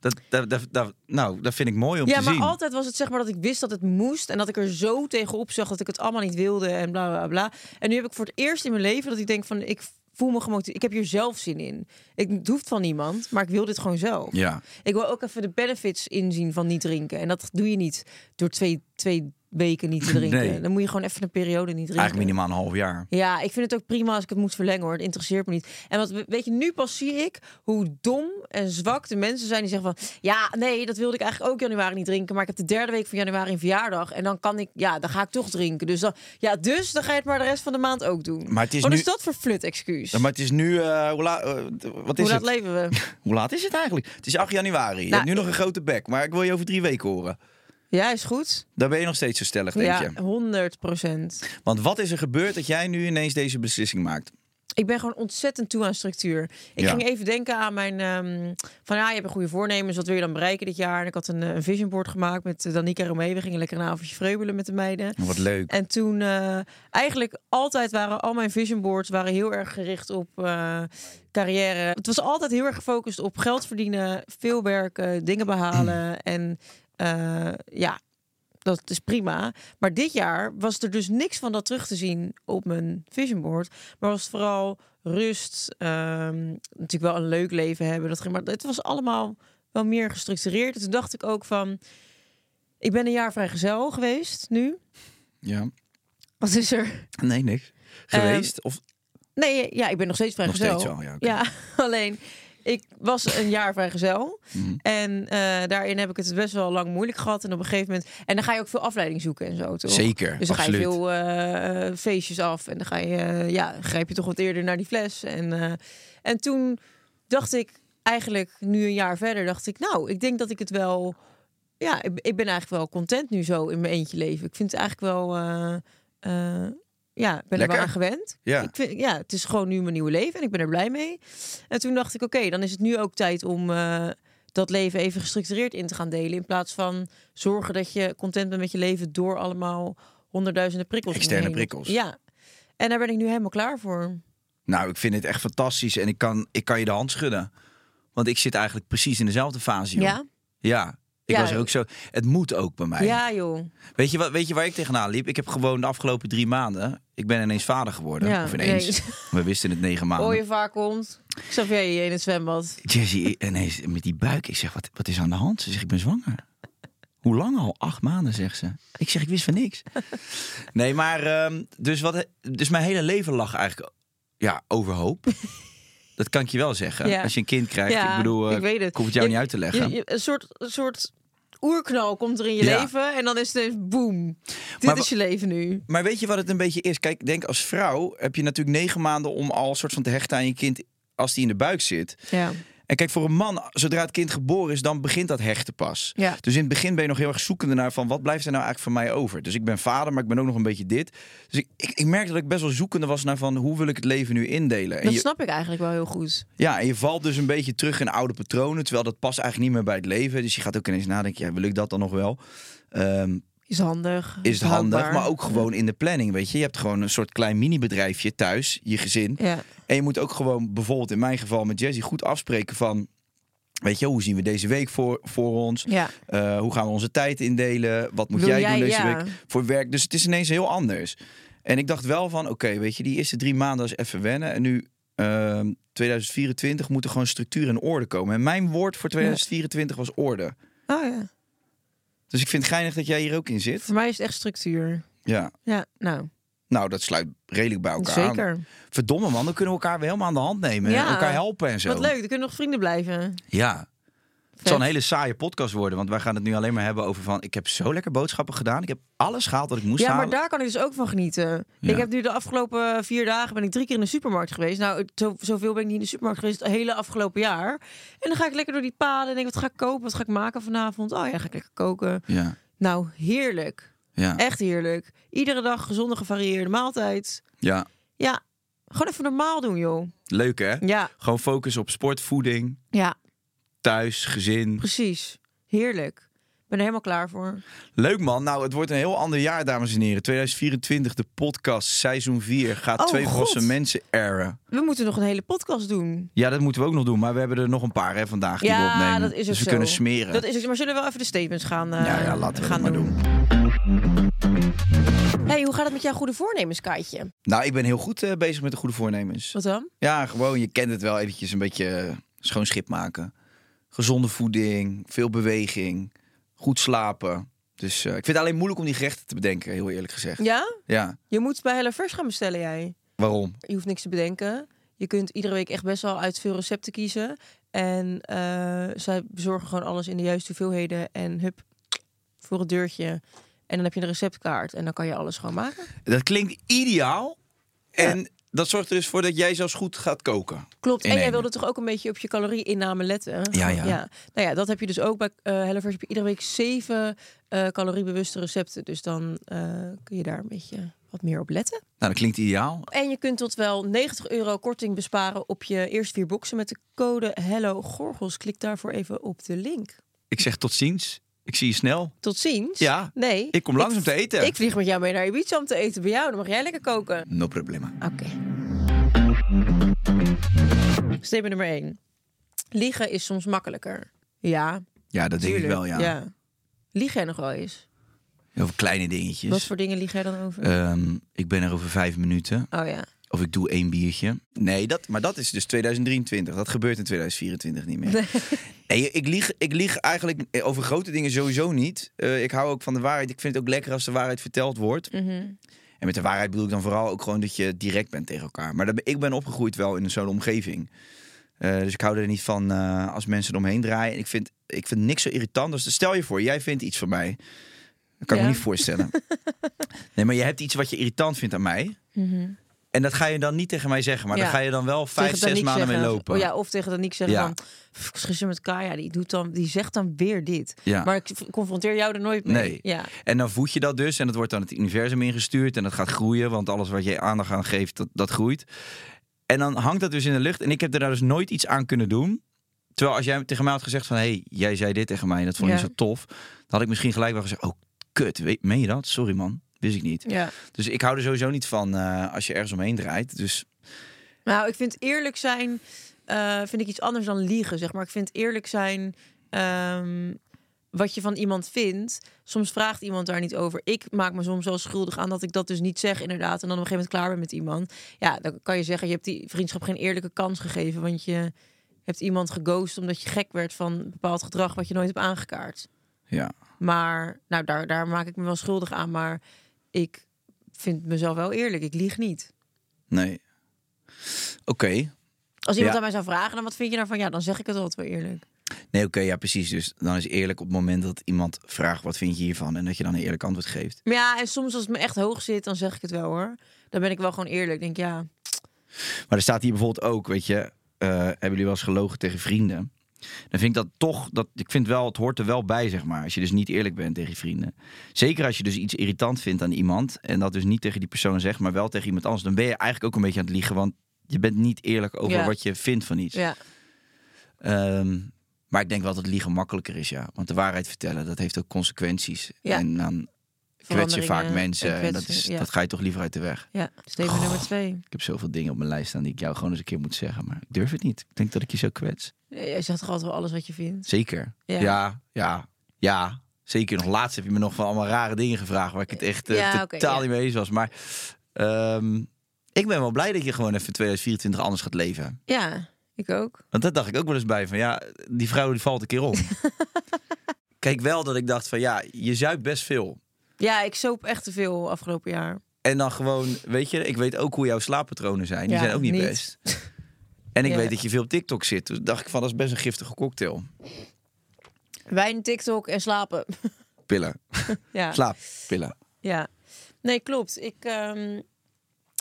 G: Dat, dat, dat, dat- nou, dat vind ik mooi om
F: Ja,
G: te
F: maar
G: zien.
F: altijd was het zeg maar dat ik wist dat het moest. En dat ik er zo tegenop zag dat ik het allemaal niet wilde en bla bla bla. En nu heb ik voor het eerst in mijn leven dat ik denk van ik voel me gemotiveerd. Ik heb hier zelf zin in. Ik, het hoeft van niemand, maar ik wil dit gewoon zelf.
G: Ja.
F: Ik wil ook even de benefits inzien van niet drinken. En dat doe je niet door twee, twee weken niet te drinken.
G: Nee.
F: Dan moet je gewoon even een periode niet drinken.
G: Eigenlijk minimaal een half jaar.
F: Ja, ik vind het ook prima als ik het moet verlengen hoor. Het interesseert me niet. En wat weet je, nu pas zie ik hoe dom en zwak de mensen zijn die zeggen van ja, nee, dat wilde ik eigenlijk ook januari niet drinken. Maar ik heb de derde week van januari een verjaardag. En dan kan ik, ja, dan ga ik toch drinken. Dus dan, ja, dus dan ga je het maar de rest van de maand ook doen.
G: Maar het is
F: wat
G: nu-
F: is dat voor flut excuus?
G: Ja, Maar het is nu, eh, hoe laat, eh, wat is
F: hoe laat
G: het?
F: leven we?
G: Hoe laat is het eigenlijk? Het is 8 januari. Je
F: Nou,
G: hebt nu nog een grote bek, maar ik wil je over drie weken horen.
F: Ja, is goed.
G: Daar ben je nog steeds zo stellig, denk
F: Ja,
G: je.
F: 100 procent.
G: Want wat is er gebeurd dat jij nu ineens deze beslissing maakt?
F: Ik ben gewoon ontzettend toe aan structuur. Ik
G: Ja.
F: ging even denken aan mijn... ehm, van ja, je hebt een goede voornemens. Wat wil je dan bereiken dit jaar? En ik had een, eh, een vision board gemaakt met eh, Danica Romee. We gingen lekker een avondje vreubelen met de meiden.
G: Wat leuk.
F: En toen eh, eigenlijk altijd waren al mijn vision boards waren heel erg gericht op eh, carrière. Het was altijd heel erg gefocust op geld verdienen, veel werken, dingen behalen. En eh, ja, dat is prima. Maar dit jaar was er dus niks van dat terug te zien op mijn vision board. Maar was het vooral rust, ehm, natuurlijk wel een leuk leven hebben. Dat ging, maar het was allemaal wel meer gestructureerd. En toen dacht ik ook van, ik ben een jaar vrijgezel geweest nu.
G: Ja.
F: Wat is er?
G: Nee, niks. Geweest? of
F: ehm, oh, Nee, ja, ik ben nog steeds vrijgezel.
G: steeds wel, ja, oké.
F: alleen ik was een jaar vrijgezel.
G: Mhm.
F: En eh, daarin heb ik het best wel lang moeilijk gehad. En op een gegeven moment. En dan ga je ook veel afleiding zoeken en zo. Toch?
G: Zeker,
F: Dus dan ga je
G: absoluut.
F: veel eh, eh, feestjes af. En dan ga je, eh, ja, grijp je toch wat eerder naar die fles. En, eh, en toen dacht ik eigenlijk, nu een jaar verder, dacht ik, nou, ik denk dat ik het wel. Ja, ik, ik ben eigenlijk wel content nu zo in mijn eentje leven. Ik vind het eigenlijk wel. eh, eh, ja, ik ben
G: Lekker.
F: er wel aan gewend.
G: Ja.
F: Ik vind, ja, het is gewoon nu mijn nieuwe leven en ik ben er blij mee. En toen dacht ik, oké, dan is het nu ook tijd om eh, dat leven even gestructureerd in te gaan delen. In plaats van zorgen dat je content bent met je leven door allemaal honderdduizenden prikkels. om je
G: Externe
F: heen.
G: prikkels.
F: Ja. En daar ben ik nu helemaal klaar voor.
G: Nou, ik vind het echt fantastisch en ik kan, ik kan je de hand schudden. Want ik zit eigenlijk precies in dezelfde fase. joh.
F: Ja?
G: Ja. Ik
F: Ja.
G: was er ook zo. Het moet ook bij mij.
F: Ja, joh.
G: Weet, je wat, weet je waar ik tegenaan liep? Ik heb gewoon de afgelopen drie maanden. Ik ben ineens vader geworden.
F: Ja,
G: of ineens.
F: ineens. Oh,
G: We wisten het negen maanden.
F: Hoor je vaak komt. Xavier hier in het zwembad.
G: Jessie ineens met die buik. Ik zeg, wat, wat is aan de hand? Ze zegt, ik ben zwanger. Hoe lang al? Acht maanden, zegt ze. Ik zeg, ik wist van niks. Nee, maar ehm, dus, wat, dus mijn hele leven lag eigenlijk ja, overhoop. Dat kan ik je wel zeggen.
F: Ja.
G: Als je een kind krijgt, ik bedoel, eh, ik, hoef het jou niet uit te leggen.
F: Je- je- een, soort, een soort oerknal komt er in je
G: Ja.
F: leven en dan is het even boem. Dit
G: Maar wa-
F: is je leven nu.
G: Maar weet je wat het een beetje is? Kijk, ik denk als vrouw heb je natuurlijk negen maanden om al een soort van te hechten aan je kind als die in de buik zit.
F: Ja.
G: En kijk, voor een man, zodra het kind geboren is, dan begint dat hechten pas.
F: Ja.
G: Dus in het begin ben je nog heel erg zoekende naar van wat blijft er nou eigenlijk van mij over. Dus ik ben vader, maar ik ben ook nog een beetje dit. Dus ik, ik, ik merkte dat ik best wel zoekende was naar van hoe wil ik het leven nu indelen. En
F: Dat
G: je,
F: snap ik eigenlijk wel heel goed.
G: ja, en je valt dus een beetje terug in oude patronen, terwijl dat past eigenlijk niet meer bij het leven. Dus je gaat ook ineens nadenken, ja, wil ik dat dan nog wel? Ehm,
F: Is handig.
G: is het handig,
F: houdbaar.
G: maar ook gewoon in de planning, weet je. Je hebt gewoon een soort klein mini-bedrijfje thuis, je gezin.
F: Ja.
G: En je moet ook gewoon bijvoorbeeld in mijn geval met Jesse goed afspreken van... Weet je, hoe zien we deze week voor, voor ons?
F: Ja.
G: Eh, hoe gaan we onze tijd indelen? Wat moet
F: Wil
G: jij,
F: jij-
G: doen deze
F: ja.
G: week voor werk? Dus het is ineens heel anders. En ik dacht wel van, oké, weet je, die eerste drie maanden is even wennen. En nu, ehm 2024, moet er gewoon structuur en orde komen. En mijn woord voor 2024 was orde.
F: Oh ja.
G: Dus ik vind het geinig dat jij hier ook in zit.
F: Voor mij is het echt structuur.
G: Ja,
F: Ja, nou,
G: nou, dat sluit redelijk bij elkaar aan.
F: zeker.
G: Verdomme man, dan kunnen we elkaar weer helemaal aan de hand nemen. en
F: Ja.
G: Elkaar helpen en zo.
F: Wat leuk, dan kunnen we nog vrienden blijven.
G: Ja. Het
F: Vet.
G: zal een hele saaie podcast worden, want wij gaan het nu alleen maar hebben over van... ik heb zo lekker boodschappen gedaan, ik heb alles gehaald dat ik moest
F: Ja, maar
G: halen.
F: daar kan ik dus ook van genieten.
G: Ja.
F: Ik heb nu de afgelopen vier dagen ben ik drie keer in de supermarkt geweest. Nou, het- zo, zoveel ben ik niet in de supermarkt geweest het hele afgelopen jaar. En dan ga ik lekker door die paden en denk wat ga ik kopen, wat ga ik maken vanavond? Oh ja, ga ik lekker koken.
G: Ja,
F: Nou, heerlijk.
G: ja,
F: Echt heerlijk. Iedere dag gezonde gevarieerde maaltijd.
G: ja.
F: Ja, gewoon even normaal doen, joh.
G: Leuk hè?
F: Ja,
G: Gewoon focus op sport, voeding,
F: ja,
G: thuis, gezin.
F: precies. Heerlijk. Ik ben er helemaal klaar voor.
G: Leuk man. Nou, het wordt een heel ander jaar, dames en heren. 2024, de podcast, seizoen 4, gaat
F: Oh,
G: twee
F: God.
G: volwassen mensen erren.
F: We moeten nog een hele podcast doen.
G: Ja, dat moeten we ook nog doen, maar we hebben er nog een paar hè, vandaag die we opnemen.
F: Ja, dat is ook
G: dus we
F: zo.
G: kunnen smeren.
F: Dat is ook, zo. maar zullen we wel even de statements gaan, eh,
G: ja, ja, laten we
F: gaan
G: dat maar doen.
F: hey, hoe gaat het met jouw goede voornemens, Kaatje?
G: Nou, ik ben heel goed eh, bezig met de goede voornemens.
F: Wat dan?
G: Ja, gewoon, je kent het wel eventjes een beetje eh, schoon schip maken. Gezonde voeding, veel beweging, goed slapen. Dus eh, ik vind het alleen moeilijk om die gerechten te bedenken, heel eerlijk gezegd. Ja,
F: Ja? Je moet bij HelloFresh gaan bestellen, jij.
G: waarom?
F: Je hoeft niks te bedenken. Je kunt iedere week echt best wel uit veel recepten kiezen. En eh, zij bezorgen gewoon alles in de juiste hoeveelheden. En hup, voor het deurtje. En dan heb je een receptkaart. En dan kan je alles gewoon maken.
G: Dat klinkt ideaal. En dat zorgt er dus voor dat jij zelfs goed gaat koken.
F: Klopt. En
G: Innemen.
F: jij wilde toch ook een beetje op je calorie-inname letten?
G: Ja, ja.
F: Nou ja, dat heb je dus ook bij eh HelloFresh. Heb je iedere week zeven eh, caloriebewuste recepten. Dus dan eh, kun je daar een beetje wat meer op letten.
G: Nou, dat klinkt ideaal.
F: En je kunt tot wel 90 euro korting besparen op je eerste vier boxen met de code Hello Gorgels. Klik daarvoor even op de link.
G: Ik zeg tot ziens. Ik zie je snel.
F: Tot ziens.
G: Ja,
F: Nee.
G: ik kom langs om te eten.
F: Ik vlieg met jou mee naar Ibiza om te eten bij jou. Dan mag jij lekker koken.
G: No problema.
F: Oké. Statement nummer 1. Liegen is soms makkelijker. Ja,
G: Ja, dat denk ik
F: tuurlijk.
G: wel, ja.
F: Lieg jij nog wel eens?
G: Heel veel kleine dingetjes.
F: Wat voor dingen lieg jij dan over?
G: Ehm, ik ben er over vijf minuten.
F: oh ja.
G: Of ik doe één biertje. Nee, dat, maar dat is dus 2023. Dat gebeurt in 2024 niet meer. Nee, ik, lieg, ik lieg eigenlijk over grote dingen sowieso niet. Eh, ik hou ook van de waarheid. Ik vind het ook lekker als de waarheid verteld wordt. En met de waarheid bedoel ik dan vooral ook gewoon dat je direct bent tegen elkaar. Maar dat, ben- ik ben opgegroeid wel in zo'n omgeving. Eh, dus ik hou er niet van eh, als mensen eromheen draaien. En ik vind, ik vind niks zo irritant. Dus stel je voor, jij vindt iets van mij. Dat kan ik
F: Ja.
G: me niet voorstellen. nee, maar je hebt iets wat je irritant vindt aan mij. En dat ga je dan niet tegen mij zeggen. Maar
F: Ja.
G: dan ga je dan wel vijf,
F: Tegen
G: zes
F: Danique
G: maanden mee
F: zeggen-
G: lopen.
F: Oh ja, of tegen Danique zeggen
G: Ja.
F: van... "Pff, Schissen met Kaya, die, doet dan, die zegt dan weer dit.
G: Ja.
F: Maar ik v- confronteer jou er nooit mee.
G: Nee.
F: Ja.
G: En dan voed je dat dus en dat wordt aan het universum ingestuurd en dat gaat groeien, want alles wat je aandacht aan geeft, dat, dat groeit. En dan hangt dat dus in de lucht en ik heb er daar dus nooit iets aan kunnen doen. Terwijl als jij tegen mij had gezegd van, hé, hey, jij zei dit tegen mij en dat vond ik
F: Ja.
G: niet zo tof, dan had ik misschien gelijk wel gezegd, oh, kut, weet, meen je dat? Sorry man, wist ik niet.
F: ja.
G: Dus ik hou er sowieso niet van eh, als je ergens omheen draait. Dus
F: Nou, ik vind eerlijk zijn... eh, vind ik iets anders dan liegen, zeg maar. Ik vind eerlijk zijn... ehm, wat je van iemand vindt. Soms vraagt iemand daar niet over. Ik maak me soms wel schuldig aan dat ik dat dus niet zeg, inderdaad. En dan op een gegeven moment klaar ben met iemand. Ja, dan kan je zeggen, je hebt die vriendschap geen eerlijke kans gegeven. Want je hebt iemand geghost omdat je gek werd van een bepaald gedrag wat je nooit hebt aangekaart.
G: ja,
F: Maar, nou, daar, daar maak ik me wel schuldig aan. Maar ik vind mezelf wel eerlijk. Ik lieg niet.
G: nee. Oké,
F: Als iemand
G: Ja.
F: aan mij zou vragen, dan wat vind je daarvan? Ja, dan zeg ik het altijd wel eerlijk.
G: nee, oké, ja, precies. Dus dan is eerlijk op het moment dat iemand vraagt, wat vind je hiervan? En dat je dan een eerlijk antwoord geeft.
F: Maar ja, en soms als het me echt hoog zit, dan zeg ik het wel hoor. Dan ben ik wel gewoon eerlijk. Ik denk, ja,
G: Maar er staat hier bijvoorbeeld ook, weet je, eh, hebben jullie wel eens gelogen tegen vrienden? Dan vind ik dat toch, dat, ik vind wel, het hoort er wel bij, zeg maar. Als je dus niet eerlijk bent tegen je vrienden. Zeker als je dus iets irritant vindt aan iemand. En dat dus niet tegen die persoon zegt, maar wel tegen iemand anders. Dan ben je eigenlijk ook een beetje aan het liegen. Want je bent niet eerlijk over
F: Ja.
G: wat je vindt van iets.
F: ja.
G: Ehm, maar ik denk wel dat liegen makkelijker is, ja. Want de waarheid vertellen, dat heeft ook consequenties.
F: Ja.
G: En dan kwets je vaak
F: Veranderingen
G: mensen. En dat,
F: kwetsen,
G: is,
F: ja.
G: dat ga je toch liever uit de weg.
F: Ja, statement nummer twee.
G: Ik heb zoveel dingen op mijn lijst staan die ik jou gewoon eens een keer moet zeggen. Maar ik durf het niet. Ik denk dat ik je zo kwets.
F: Nee, Jij zegt toch altijd wel alles wat je vindt?
G: Zeker.
F: Ja.
G: Ja, ja, ja. Zeker. Nog laatst heb je me nog van allemaal rare dingen gevraagd. Waar ik het echt eh,
F: Ja, oké,
G: totaal
F: ja.
G: niet mee eens was. Maar ehm, ik ben wel blij dat je gewoon even 2024 anders gaat leven.
F: Ja, ik ook.
G: Want dat dacht ik ook wel eens bij. Van ja, die vrouw die valt een keer om. Kijk wel dat ik dacht van ja, je zuipt best veel.
F: Ja, ik soop echt te veel afgelopen jaar.
G: En dan gewoon, weet je, ik weet ook hoe jouw slaappatronen zijn. Die
F: Ja,
G: zijn ook niet,
F: niet.
G: best. En ik
F: Ja.
G: weet dat je veel op TikTok zit. Dus dacht ik van, dat is best een giftige cocktail.
F: Wijn, TikTok en slapen.
G: Pillen.
F: ja.
G: Slaappillen.
F: ja. Nee, klopt. Ik, ehm,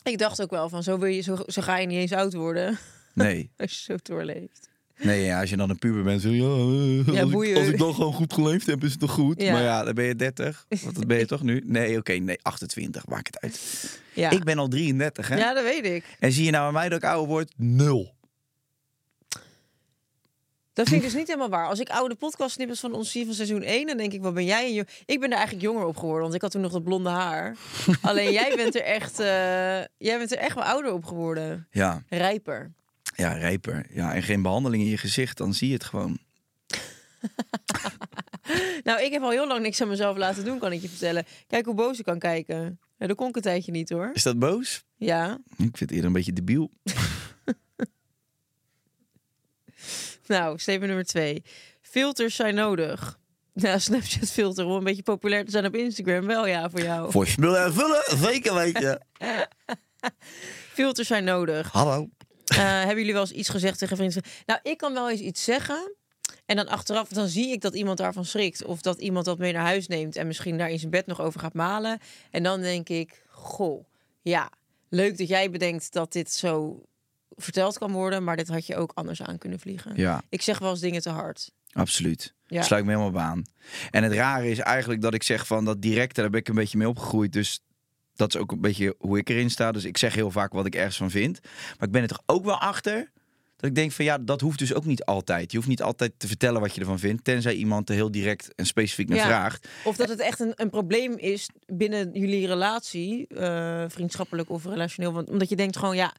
F: ik dacht ook wel van zo, wil je, zo, zo ga je niet eens oud worden
G: Nee.
F: als je zo doorleeft.
G: Nee, ja, als je dan een puber bent, zeg je, ja, eh,
F: Ja,
G: als, ik,
F: boeien.
G: als ik dan gewoon goed geleefd heb, is het toch goed?
F: Ja.
G: Maar ja, dan ben je 30. Want dat ben je toch nu? Nee, oké, nee, 28. Maakt het uit.
F: Ja.
G: Ik ben al 33, hè?
F: ja, dat weet ik.
G: En zie je nou aan mij dat ik ouder word? Nul.
F: Dat vind ik dus niet helemaal waar. Als ik oude podcastsnippers van ons zie van seizoen 1, dan denk ik, wat ben jij? Een jo- ik ben er eigenlijk jonger op geworden, want ik had toen nog dat blonde haar. Alleen jij bent er echt, eh, jij bent er echt wel ouder op geworden.
G: Ja,
F: Rijper.
G: ja, rijper. Ja, en geen behandeling in je gezicht, dan zie je het gewoon.
F: Nou, ik heb al heel lang niks aan mezelf laten doen, kan ik je vertellen. Kijk hoe boos ik kan kijken. Ja, dat kon ik een tijdje niet hoor.
G: Is dat boos?
F: Ja,
G: Ik vind het eerder een beetje debiel.
F: nou, statement nummer twee. Filters zijn nodig. Nou, Snapchat filter om een beetje populair te zijn op Instagram. Wel ja, voor jou.
G: Voor smullen en vullen, zeker weten.
F: Filters zijn nodig.
G: Hallo.
F: Eh, hebben jullie wel eens iets gezegd tegen vrienden? Nou, ik kan wel eens iets zeggen. En dan achteraf, dan zie ik dat iemand daarvan schrikt. Of dat iemand dat mee naar huis neemt. En misschien daar in zijn bed nog over gaat malen. En dan denk ik, goh, ja. Leuk dat jij bedenkt dat dit zo verteld kan worden. Maar dit had je ook anders aan kunnen vliegen.
G: Ja,
F: Ik zeg wel eens dingen te hard.
G: absoluut.
F: Ja.
G: Sluit me helemaal bij aan. En het rare is eigenlijk dat ik zeg van dat directe, daar ben ik een beetje mee opgegroeid. Dus dat is ook een beetje hoe ik erin sta. Dus ik zeg heel vaak wat ik ergens van vind. Maar ik ben er toch ook wel achter dat ik denk van ja, dat hoeft dus ook niet altijd. Je hoeft niet altijd te vertellen wat je ervan vindt. Tenzij iemand er heel direct en specifiek naar
F: Ja.
G: vraagt.
F: Of dat het echt een, een probleem is binnen jullie relatie, eh, vriendschappelijk of relationeel. Want omdat je denkt gewoon, ja,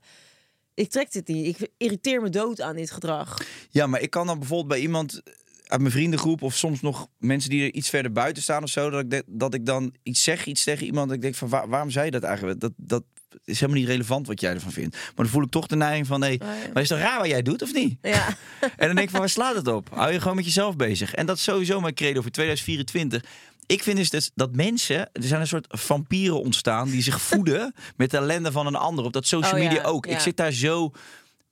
F: ik trek dit niet. Ik irriteer me dood aan dit gedrag.
G: Ja, maar ik kan dan bijvoorbeeld bij iemand uit mijn vriendengroep of soms nog mensen die er iets verder buiten staan of zo, dat ik, de- dat ik dan iets zeg, iets tegen iemand, dat ik denk van "Waar- waarom zei je dat eigenlijk? Dat, dat is helemaal niet relevant wat jij ervan vindt. Maar dan voel ik toch de neiging van, nee,
F: ja.
G: maar is het raar wat jij doet of niet?
F: Ja.
G: En dan denk ik van, waar slaat het op? Hou je gewoon met jezelf bezig. En dat is sowieso mijn credo voor 2024. Ik vind dus dat, dat mensen, er zijn een soort vampieren ontstaan die zich voeden met de ellende van een ander op dat social
F: Oh ja,
G: media ook.
F: ja.
G: Ik zit daar zo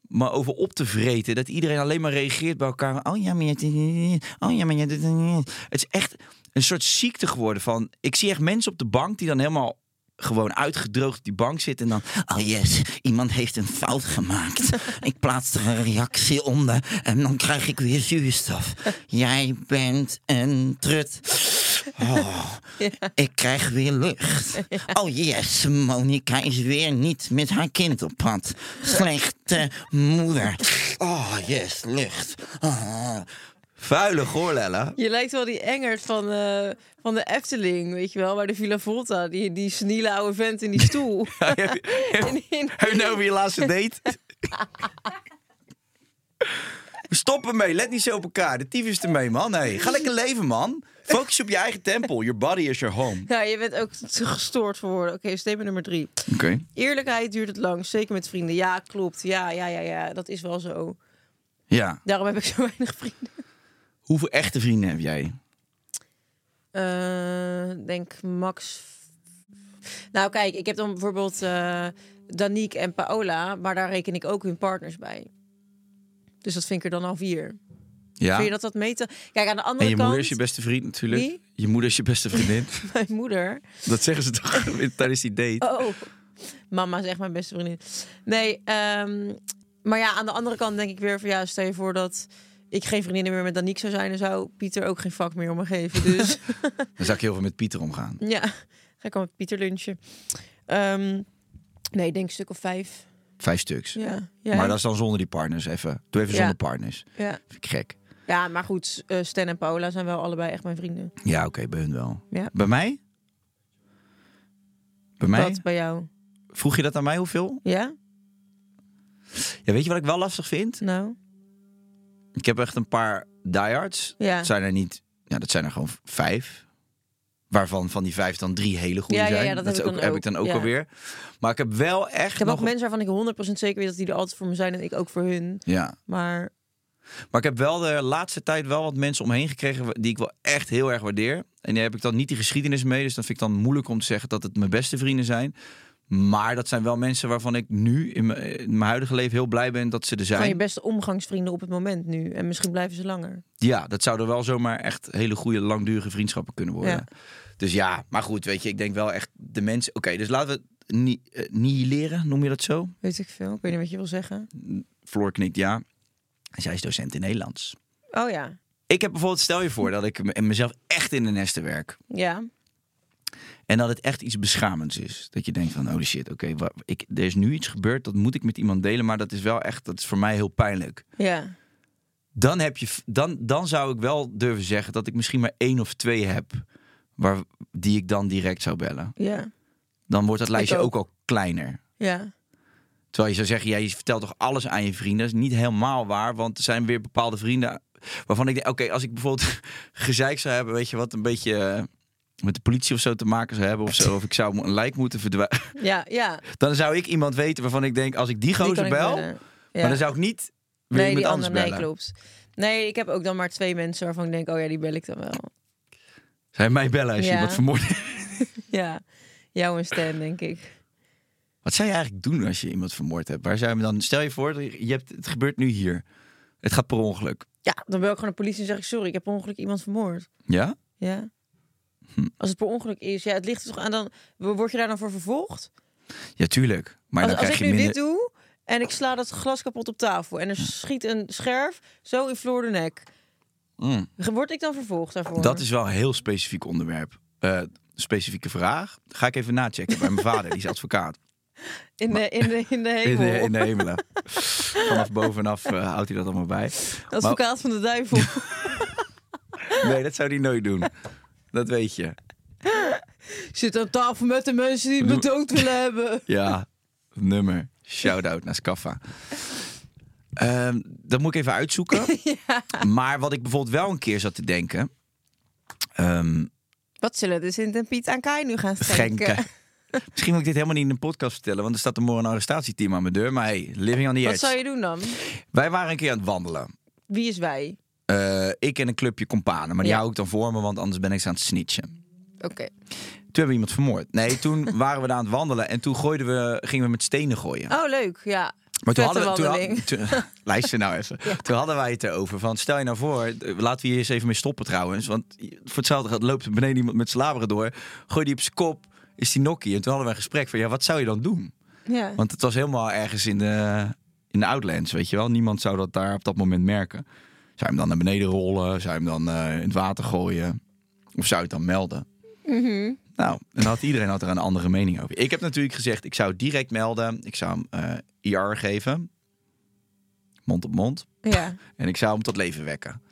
G: maar over op te vreten. Dat iedereen alleen maar reageert bij elkaar. Oh ja, maar je dit niet. Oh ja, maar je dit niet. Het is echt een soort ziekte geworden van... Ik zie echt mensen op de bank die dan helemaal gewoon uitgedroogd op die bank zitten en dan... Oh yes, iemand heeft een fout gemaakt. Ik plaats er een reactie onder en dan krijg ik weer zuurstof. Jij bent een trut. Oh, Ik krijg weer lucht. Oh yes, Monika is weer niet met haar kind op pad. Slechte moeder. Oh yes, lucht. Ah. Vuile goorlellen.
F: Je lijkt wel die Engert van, eh, van de Efteling, weet je wel, waar de Villa Volta, die, die seniele oude vent in die stoel.
G: heb, je- heb- heb je nou weer je laatste date? Stop ermee, let niet zo op elkaar. De tyfus is ermee, man. Hey, ga lekker leven, man. Focus je op je eigen tempel. Your body is your home.
F: Ja, je bent ook te gestoord voor woorden. Oké, statement nummer drie.
G: Oké.
F: Eerlijkheid duurt het lang, zeker met vrienden. Ja, klopt. Ja, ja, ja, ja, dat is wel zo.
G: Ja.
F: Daarom heb ik zo weinig vrienden.
G: Hoeveel echte vrienden heb jij?
F: Eh, denk max. Nou, kijk, ik heb dan bijvoorbeeld eh Danique en Paola, maar daar reken ik ook hun partners bij. Dus dat vind ik er dan al vier.
G: Ja.
F: Vind je dat dat meten? Kijk, aan de andere
G: en je
F: kant,
G: moeder is je beste vriend natuurlijk.
F: Wie?
G: Je moeder is je beste vriendin.
F: mijn moeder.
G: Dat zeggen ze toch tijdens die date.
F: Oh, mama is echt mijn beste vriendin. Nee, ehm, maar ja, aan de andere kant denk ik weer van ja, stel je voor dat ik geen vriendinnen meer met Danique zou zijn, dan zou Pieter ook geen vak meer om me geven. Dus
G: Dan zou ik heel veel met Pieter omgaan.
F: ja, ga ik al met Pieter lunchen. Ehm, nee, ik denk een stuk of vijf.
G: Vijf stuks.
F: Ja, ja.
G: Maar dat is dan zonder die partners even. Doe even
F: Ja.
G: zonder partners.
F: ja.
G: Vind ik gek.
F: ja, maar goed, eh Stan en Paola zijn wel allebei echt mijn vrienden.
G: Ja, oké, bij hun wel.
F: Ja.
G: Bij mij? Bij mij?
F: Wat bij jou?
G: Vroeg je dat aan mij hoeveel?
F: Ja?
G: Ja, weet je wat ik wel lastig vind?
F: Nou?
G: Ik heb echt een paar diehards.
F: Ja.
G: Dat zijn er niet... Ja, dat zijn er gewoon vijf. Waarvan van die vijf dan drie hele goede
F: Ja, ja, ja,
G: zijn.
F: dat
G: is
F: heb ik dan
G: heb ik dan
F: ook,
G: ook
F: ja.
G: alweer. Maar ik heb wel echt
F: Ik heb
G: nog...
F: ook mensen waarvan ik 100% zeker weet dat die er altijd voor me zijn en ik ook voor hun.
G: Ja.
F: Maar
G: Maar ik heb wel de laatste tijd wel wat mensen omheen gekregen wa- die ik wel echt heel erg waardeer. En daar heb ik dan niet die geschiedenis mee, dus dat vind ik dan moeilijk om te zeggen dat het mijn beste vrienden zijn. Maar dat zijn wel mensen waarvan ik nu in mijn, in mijn huidige leven heel blij ben dat ze er
F: van je
G: zijn.
F: beste omgangsvrienden op het moment nu. En misschien blijven ze langer.
G: Ja, dat zouden wel zomaar echt hele goede, langdurige vriendschappen kunnen worden. Dus ja, maar goed, weet je, ik denk wel echt de mensen. Oké, dus laten we het ni eh, nihileren, noem je dat zo?
F: Weet ik veel. Ik weet niet wat je wil zeggen.
G: Floor knikt ja. Zij is docent in Nederlands.
F: Oh ja.
G: Ik heb bijvoorbeeld, stel je voor dat ik me- mezelf echt in de nesten werk.
F: Ja.
G: En dat het echt iets beschamends is. Dat je denkt van, oh shit, oké, wa- ik, er is nu iets gebeurd, dat moet ik met iemand delen, maar dat is wel echt, dat is voor mij heel pijnlijk.
F: Ja.
G: Dan, heb je, f- dan, dan zou ik wel durven zeggen dat ik misschien maar één of twee heb, waar, die ik dan direct zou bellen.
F: Ja.
G: Dan wordt dat lijstje
F: ook.
G: ook. al kleiner.
F: Ja.
G: Terwijl je zou zeggen, jij vertelt toch alles aan je vrienden? Dat is niet helemaal waar, want er zijn weer bepaalde vrienden waarvan ik denk, oké, als ik bijvoorbeeld gezeik zou hebben, weet je wat, een beetje... eh, met de politie of zo te maken zou hebben of zo. Of ik zou een lijk moeten verdwijnen.
F: Ja. Ja.
G: Dan zou ik iemand weten waarvan ik denk, als ik die gozer bel,
F: Ja.
G: maar dan zou ik niet weer
F: nee,
G: iemand
F: die
G: anders
F: andere,
G: bellen.
F: nee, klopt. Nee, ik heb ook dan maar twee mensen waarvan ik denk, oh ja, die bel ik dan wel.
G: Zou je mij bellen als je
F: Ja.
G: iemand vermoordt?
F: Ja. Jou en Stan, denk ik.
G: Wat zou je eigenlijk doen als je iemand vermoord hebt? Waar zou je hem dan, stel je voor, je hebt, het gebeurt nu hier. Het gaat per ongeluk.
F: Ja, dan bel ik gewoon de politie en zeg ik, sorry, ik heb per ongeluk iemand vermoord.
G: Ja?
F: Ja. Als het per ongeluk is, ja, het ligt er toch aan, dan word je daar dan voor vervolgd?
G: Ja, tuurlijk. Maar
F: Als,
G: dan
F: als ik
G: krijg
F: nu
G: je
F: dit
G: minder...
F: doe en ik sla dat glas kapot op tafel en er schiet een scherf zo in Floor de nek,
G: Mm.
F: word ik dan vervolgd daarvoor?
G: Dat is wel een heel specifiek onderwerp. Eh, specifieke vraag. Ga ik even nachecken bij mijn vader, die is advocaat.
F: in, de, in, de, in de
G: In
F: hemel.
G: de, in de hemelen. Vanaf bovenaf eh, houdt hij dat allemaal bij. Maar-
F: Advocaat van de duivel.
G: nee, dat zou hij nooit doen. Dat weet je.
F: Zit aan tafel met de mensen die me dood willen hebben.
G: Ja, nummer. Shout-out naar Scaffa. Ehm, dat moet ik even uitzoeken. Maar wat ik bijvoorbeeld wel een keer zat te denken... ehm
F: Wat zullen de Sint en Piet aan Kai nu gaan
G: Genke.
F: schenken?
G: Misschien moet ik dit helemaal niet in een podcast vertellen... want er staat er morgen een arrestatieteam aan mijn deur. Maar hey, living on the
F: Wat zou
G: edge.
F: je doen dan?
G: Wij waren een keer aan het wandelen.
F: Wie is wij?
G: Eh, ik en een clubje companen. Maar die
F: Ja.
G: hou ik dan voor me, want anders ben ik ze aan het snitchen.
F: Oké.
G: Toen hebben we iemand vermoord. Nee, toen waren we daar aan het wandelen... en toen gooiden we, gingen we met stenen gooien.
F: Oh, leuk. Ja.
G: Maar toen
F: Vette
G: hadden we. Toen,
F: wandeling.
G: had- toen- luister nou even. Toen hadden wij het erover van. Stel je nou voor. eh, Laten we hier eens even mee stoppen trouwens. Want voor hetzelfde geld loopt er beneden iemand met zijn laberen door. Gooi die op zijn kop. Is die nokkie. En toen hadden we een gesprek van. Ja, wat zou je dan doen?
F: Ja.
G: Want het was helemaal ergens in de, in de Outlands, weet je wel. Niemand zou dat daar op dat moment merken. Zou je hem dan naar beneden rollen? Zou je hem dan eh, in het water gooien? Of zou je het dan melden? Nou, en had, iedereen had er een andere mening over. Ik heb natuurlijk gezegd, ik zou het direct melden. Ik zou hem eh, IR geven. Mond op mond.
F: ja.
G: En ik zou hem tot leven wekken.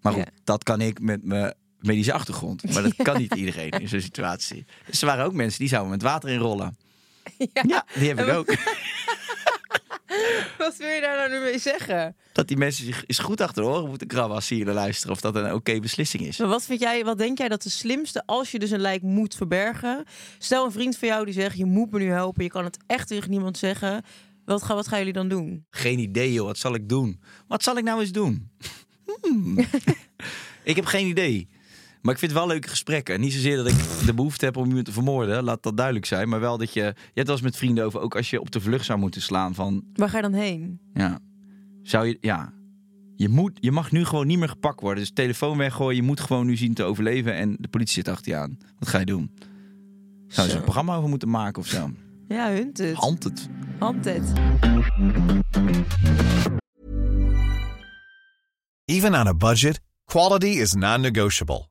G: Maar goed,
F: Ja.
G: dat kan ik met mijn medische achtergrond. Maar dat kan niet iedereen in zo'n situatie. Dus er waren ook mensen die zouden hem het water inrollen. Ja, ja die heb ik ook.
F: Wat wil je daar nou nu mee zeggen?
G: dat die mensen zich eens goed achter de oren moeten krabben als ze hier naar luisteren. Of dat een oké beslissing is.
F: Maar wat, vind jij, wat denk jij dat de slimste, als je dus een lijk moet verbergen... Stel een vriend van jou die zegt, je moet me nu helpen. Je kan het echt tegen niemand zeggen. Wat, ga, wat gaan jullie dan doen?
G: Geen idee joh, wat zal ik doen? Wat zal ik nou eens doen? Hmm. ik heb geen idee. Maar ik vind het wel leuke gesprekken. Niet zozeer dat ik de behoefte heb om iemand te vermoorden. Laat dat duidelijk zijn. Maar wel dat je... Je hebt het wel eens met vrienden over. Ook als je op de vlucht zou moeten slaan van...
F: Waar ga je dan heen?
G: Ja. Zou je, ja. Je, moet, je mag nu gewoon niet meer gepakt worden. Dus telefoon weggooien. Je moet gewoon nu zien te overleven. En de politie zit achter je aan. Wat ga je doen? Zou je
F: Zo.
G: een programma over moeten maken of zo?
F: Ja, hunt het.
G: Hand het.
F: Hand het.
H: Even on a budget, quality is non-negotiable.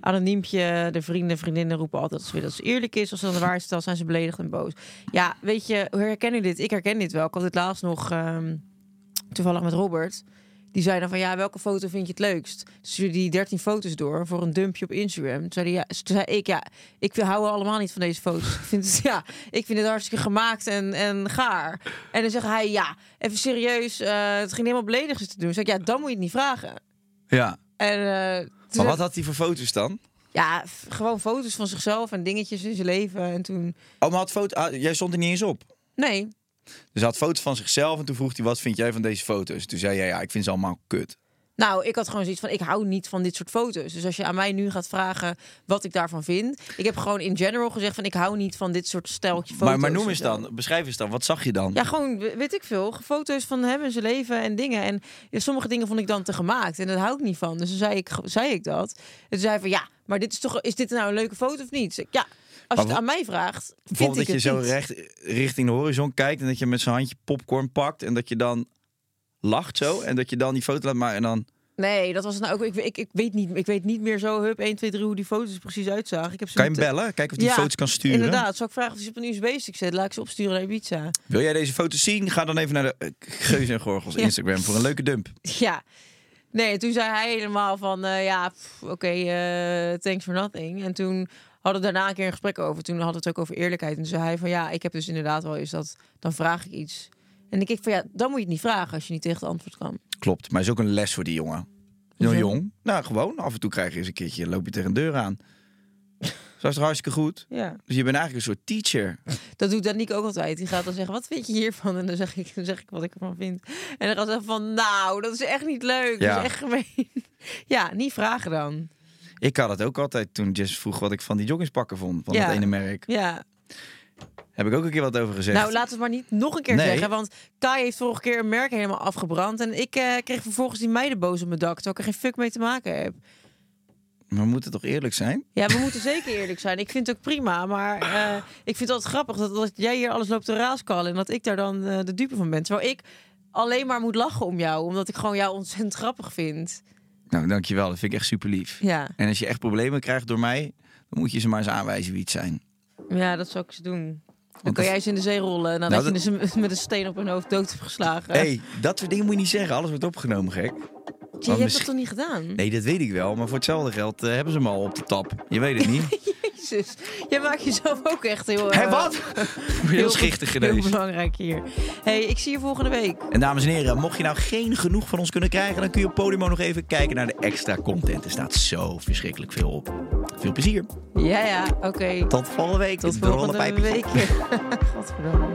F: Anoniempje, de vrienden, vriendinnen roepen altijd als ze willen dat ze eerlijk is. Als ze dan de waarheid vertelt, zijn ze beledigd en boos. Ja, weet je, hoe herken je dit? Ik herken dit wel. Ik had dit laatst nog ehm, toevallig met Robert. Die zei dan van, ja, welke foto vind je het leukst? Toen stuurde die 13 foto's door voor een dumpje op Instagram. Toen zei, die, ja, toen zei ik, ja, ik hou allemaal niet van deze foto's. Ik vind het, ja, ik vind het hartstikke gemaakt en, en gaar. En dan zegt hij, ja, even serieus, eh, het ging helemaal beledigend te doen. Toen zei ik, ja, dan moet je het niet vragen.
G: Ja.
F: En, eh, toen
G: Maar
F: zei-
G: wat had hij voor foto's dan?
F: ja, f- gewoon foto's van zichzelf en dingetjes in zijn leven. En toen.
G: Oh, maar had foto, ah, jij stond er niet eens op.
F: Nee.
G: Dus hij had foto's van zichzelf en toen vroeg hij, wat vind jij van deze foto's? Toen zei jij, ja, ik vind ze allemaal kut.
F: Nou, ik had gewoon zoiets van: ik hou niet van dit soort foto's. Dus als je aan mij nu gaat vragen wat ik daarvan vind. Ik heb gewoon in general gezegd: van ik hou niet van dit soort steltje foto's.
G: Maar, maar noem
F: en
G: eens
F: zo.
G: dan, beschrijf eens dan, wat zag je dan?
F: Ja, gewoon, we- weet ik veel. Foto's van hem en zijn leven en dingen. En ja, sommige dingen vond ik dan te gemaakt. En daar hou ik niet van. Dus toen zei ik, zei ik dat. En toen zei hij van, ja, maar dit is toch, is dit nou een leuke foto of niet? Zeg ik, Ja, als je
G: wa-
F: het aan mij vraagt, vind
G: Bijvoorbeeld
F: ik
G: dat je
F: het
G: zo
F: niet.
G: recht richting de horizon kijkt en dat je met zijn handje popcorn pakt en dat je dan lacht zo en dat je dan die foto laat maken en dan...
F: Nee, dat was het nou ook. Ik, ik, ik, weet niet, ik weet niet meer zo, hup, 1, 2, 3, hoe die foto's er precies uitzagen. Ik heb ze
G: Kan je
F: met-
G: hem bellen? Kijken of hij die foto's kan sturen?
F: Inderdaad, zou ik vragen of ze op een USB-stick zet. Laat ik ze opsturen naar Ibiza.
G: Wil jij deze foto's zien? Ga dan even naar de eh, Geuze en Gorgels
F: Ja.
G: Instagram voor een leuke dump.
F: Ja. Nee, en toen zei hij helemaal van, eh, ja, pff, oké, eh, thanks for nothing. En toen hadden we daarna een keer een gesprek over. Toen hadden we het ook over eerlijkheid. En toen zei hij van, ja, ik heb dus inderdaad wel eens dat, dan vraag ik iets. En ik denk van, ja, dan moet je het niet vragen als je niet tegen het antwoord kan.
G: Klopt, maar is ook een les voor die jongen. Heel
F: Hoezo?
G: jong. Nou, gewoon. Af en toe krijg je eens een keertje, loop je tegen een deur aan. Dat is toch hartstikke goed?
F: Ja.
G: Dus je bent eigenlijk een soort teacher.
F: Dat doet Danique ook altijd. Die gaat dan zeggen, wat vind je hiervan? En dan zeg ik, dan zeg ik wat ik ervan vind. En dan gaat ze zeggen van, nou, dat is echt niet leuk.
G: Ja.
F: Dat is echt gemeen. Ja, niet vragen dan.
G: Ik had het ook altijd toen Jess vroeg wat ik van die joggingspakken vond. Van
F: Ja.
G: dat ene merk.
F: Ja.
G: Heb ik ook een keer wat over gezegd.
F: Nou, laten we het maar niet nog een keer
G: Nee.
F: zeggen. Want Kai heeft vorige keer een merk helemaal afgebrand. En ik eh, kreeg vervolgens die meiden boos op mijn dak. Terwijl ik er geen fuck mee te maken heb.
G: We moeten toch eerlijk zijn?
F: Ja, we moeten zeker eerlijk zijn. Ik vind het ook prima. Maar eh, ik vind het altijd grappig dat, dat jij hier alles loopt te raaskallen. En dat ik daar dan eh, de dupe van ben. Terwijl ik alleen maar moet lachen om jou. Omdat ik gewoon jou ontzettend grappig vind.
G: Nou, dankjewel. Dat vind ik echt super lief.
F: Ja.
G: En als je echt problemen krijgt door mij, dan moet je ze maar eens aanwijzen wie het zijn.
F: Ja, dat zou ik ze doen. Dan
G: Want
F: kan
G: dat-
F: jij eens in de zee rollen nadat
G: Nou,
F: je
G: dat-
F: ze met een steen op hun hoofd dood hebt geslagen.
G: Hé, hey, dat soort dingen moet je niet zeggen. Alles wordt opgenomen, gek.
F: je hebt
G: misschien-
F: dat toch niet gedaan?
G: Nee, dat weet ik wel. Maar voor hetzelfde geld eh, hebben ze hem al op de tap. Je weet het niet.
F: Jezus, jij maakt jezelf ook echt heel...
G: Hé,
F: eh,
G: wat? Heel schichtig
F: heel
G: genezen.
F: belangrijk hier. hey, ik zie je volgende week.
G: En dames en heren, mocht je nou geen genoeg van ons kunnen krijgen... dan kun je op Podimo nog even kijken naar de extra content. Er staat zo verschrikkelijk veel op. Veel plezier.
F: Ja, ja, oké.
G: Tot volgende week.
F: Tot
G: Het Dolle
F: volgende
G: Pijpje.
F: week. Godverdomme.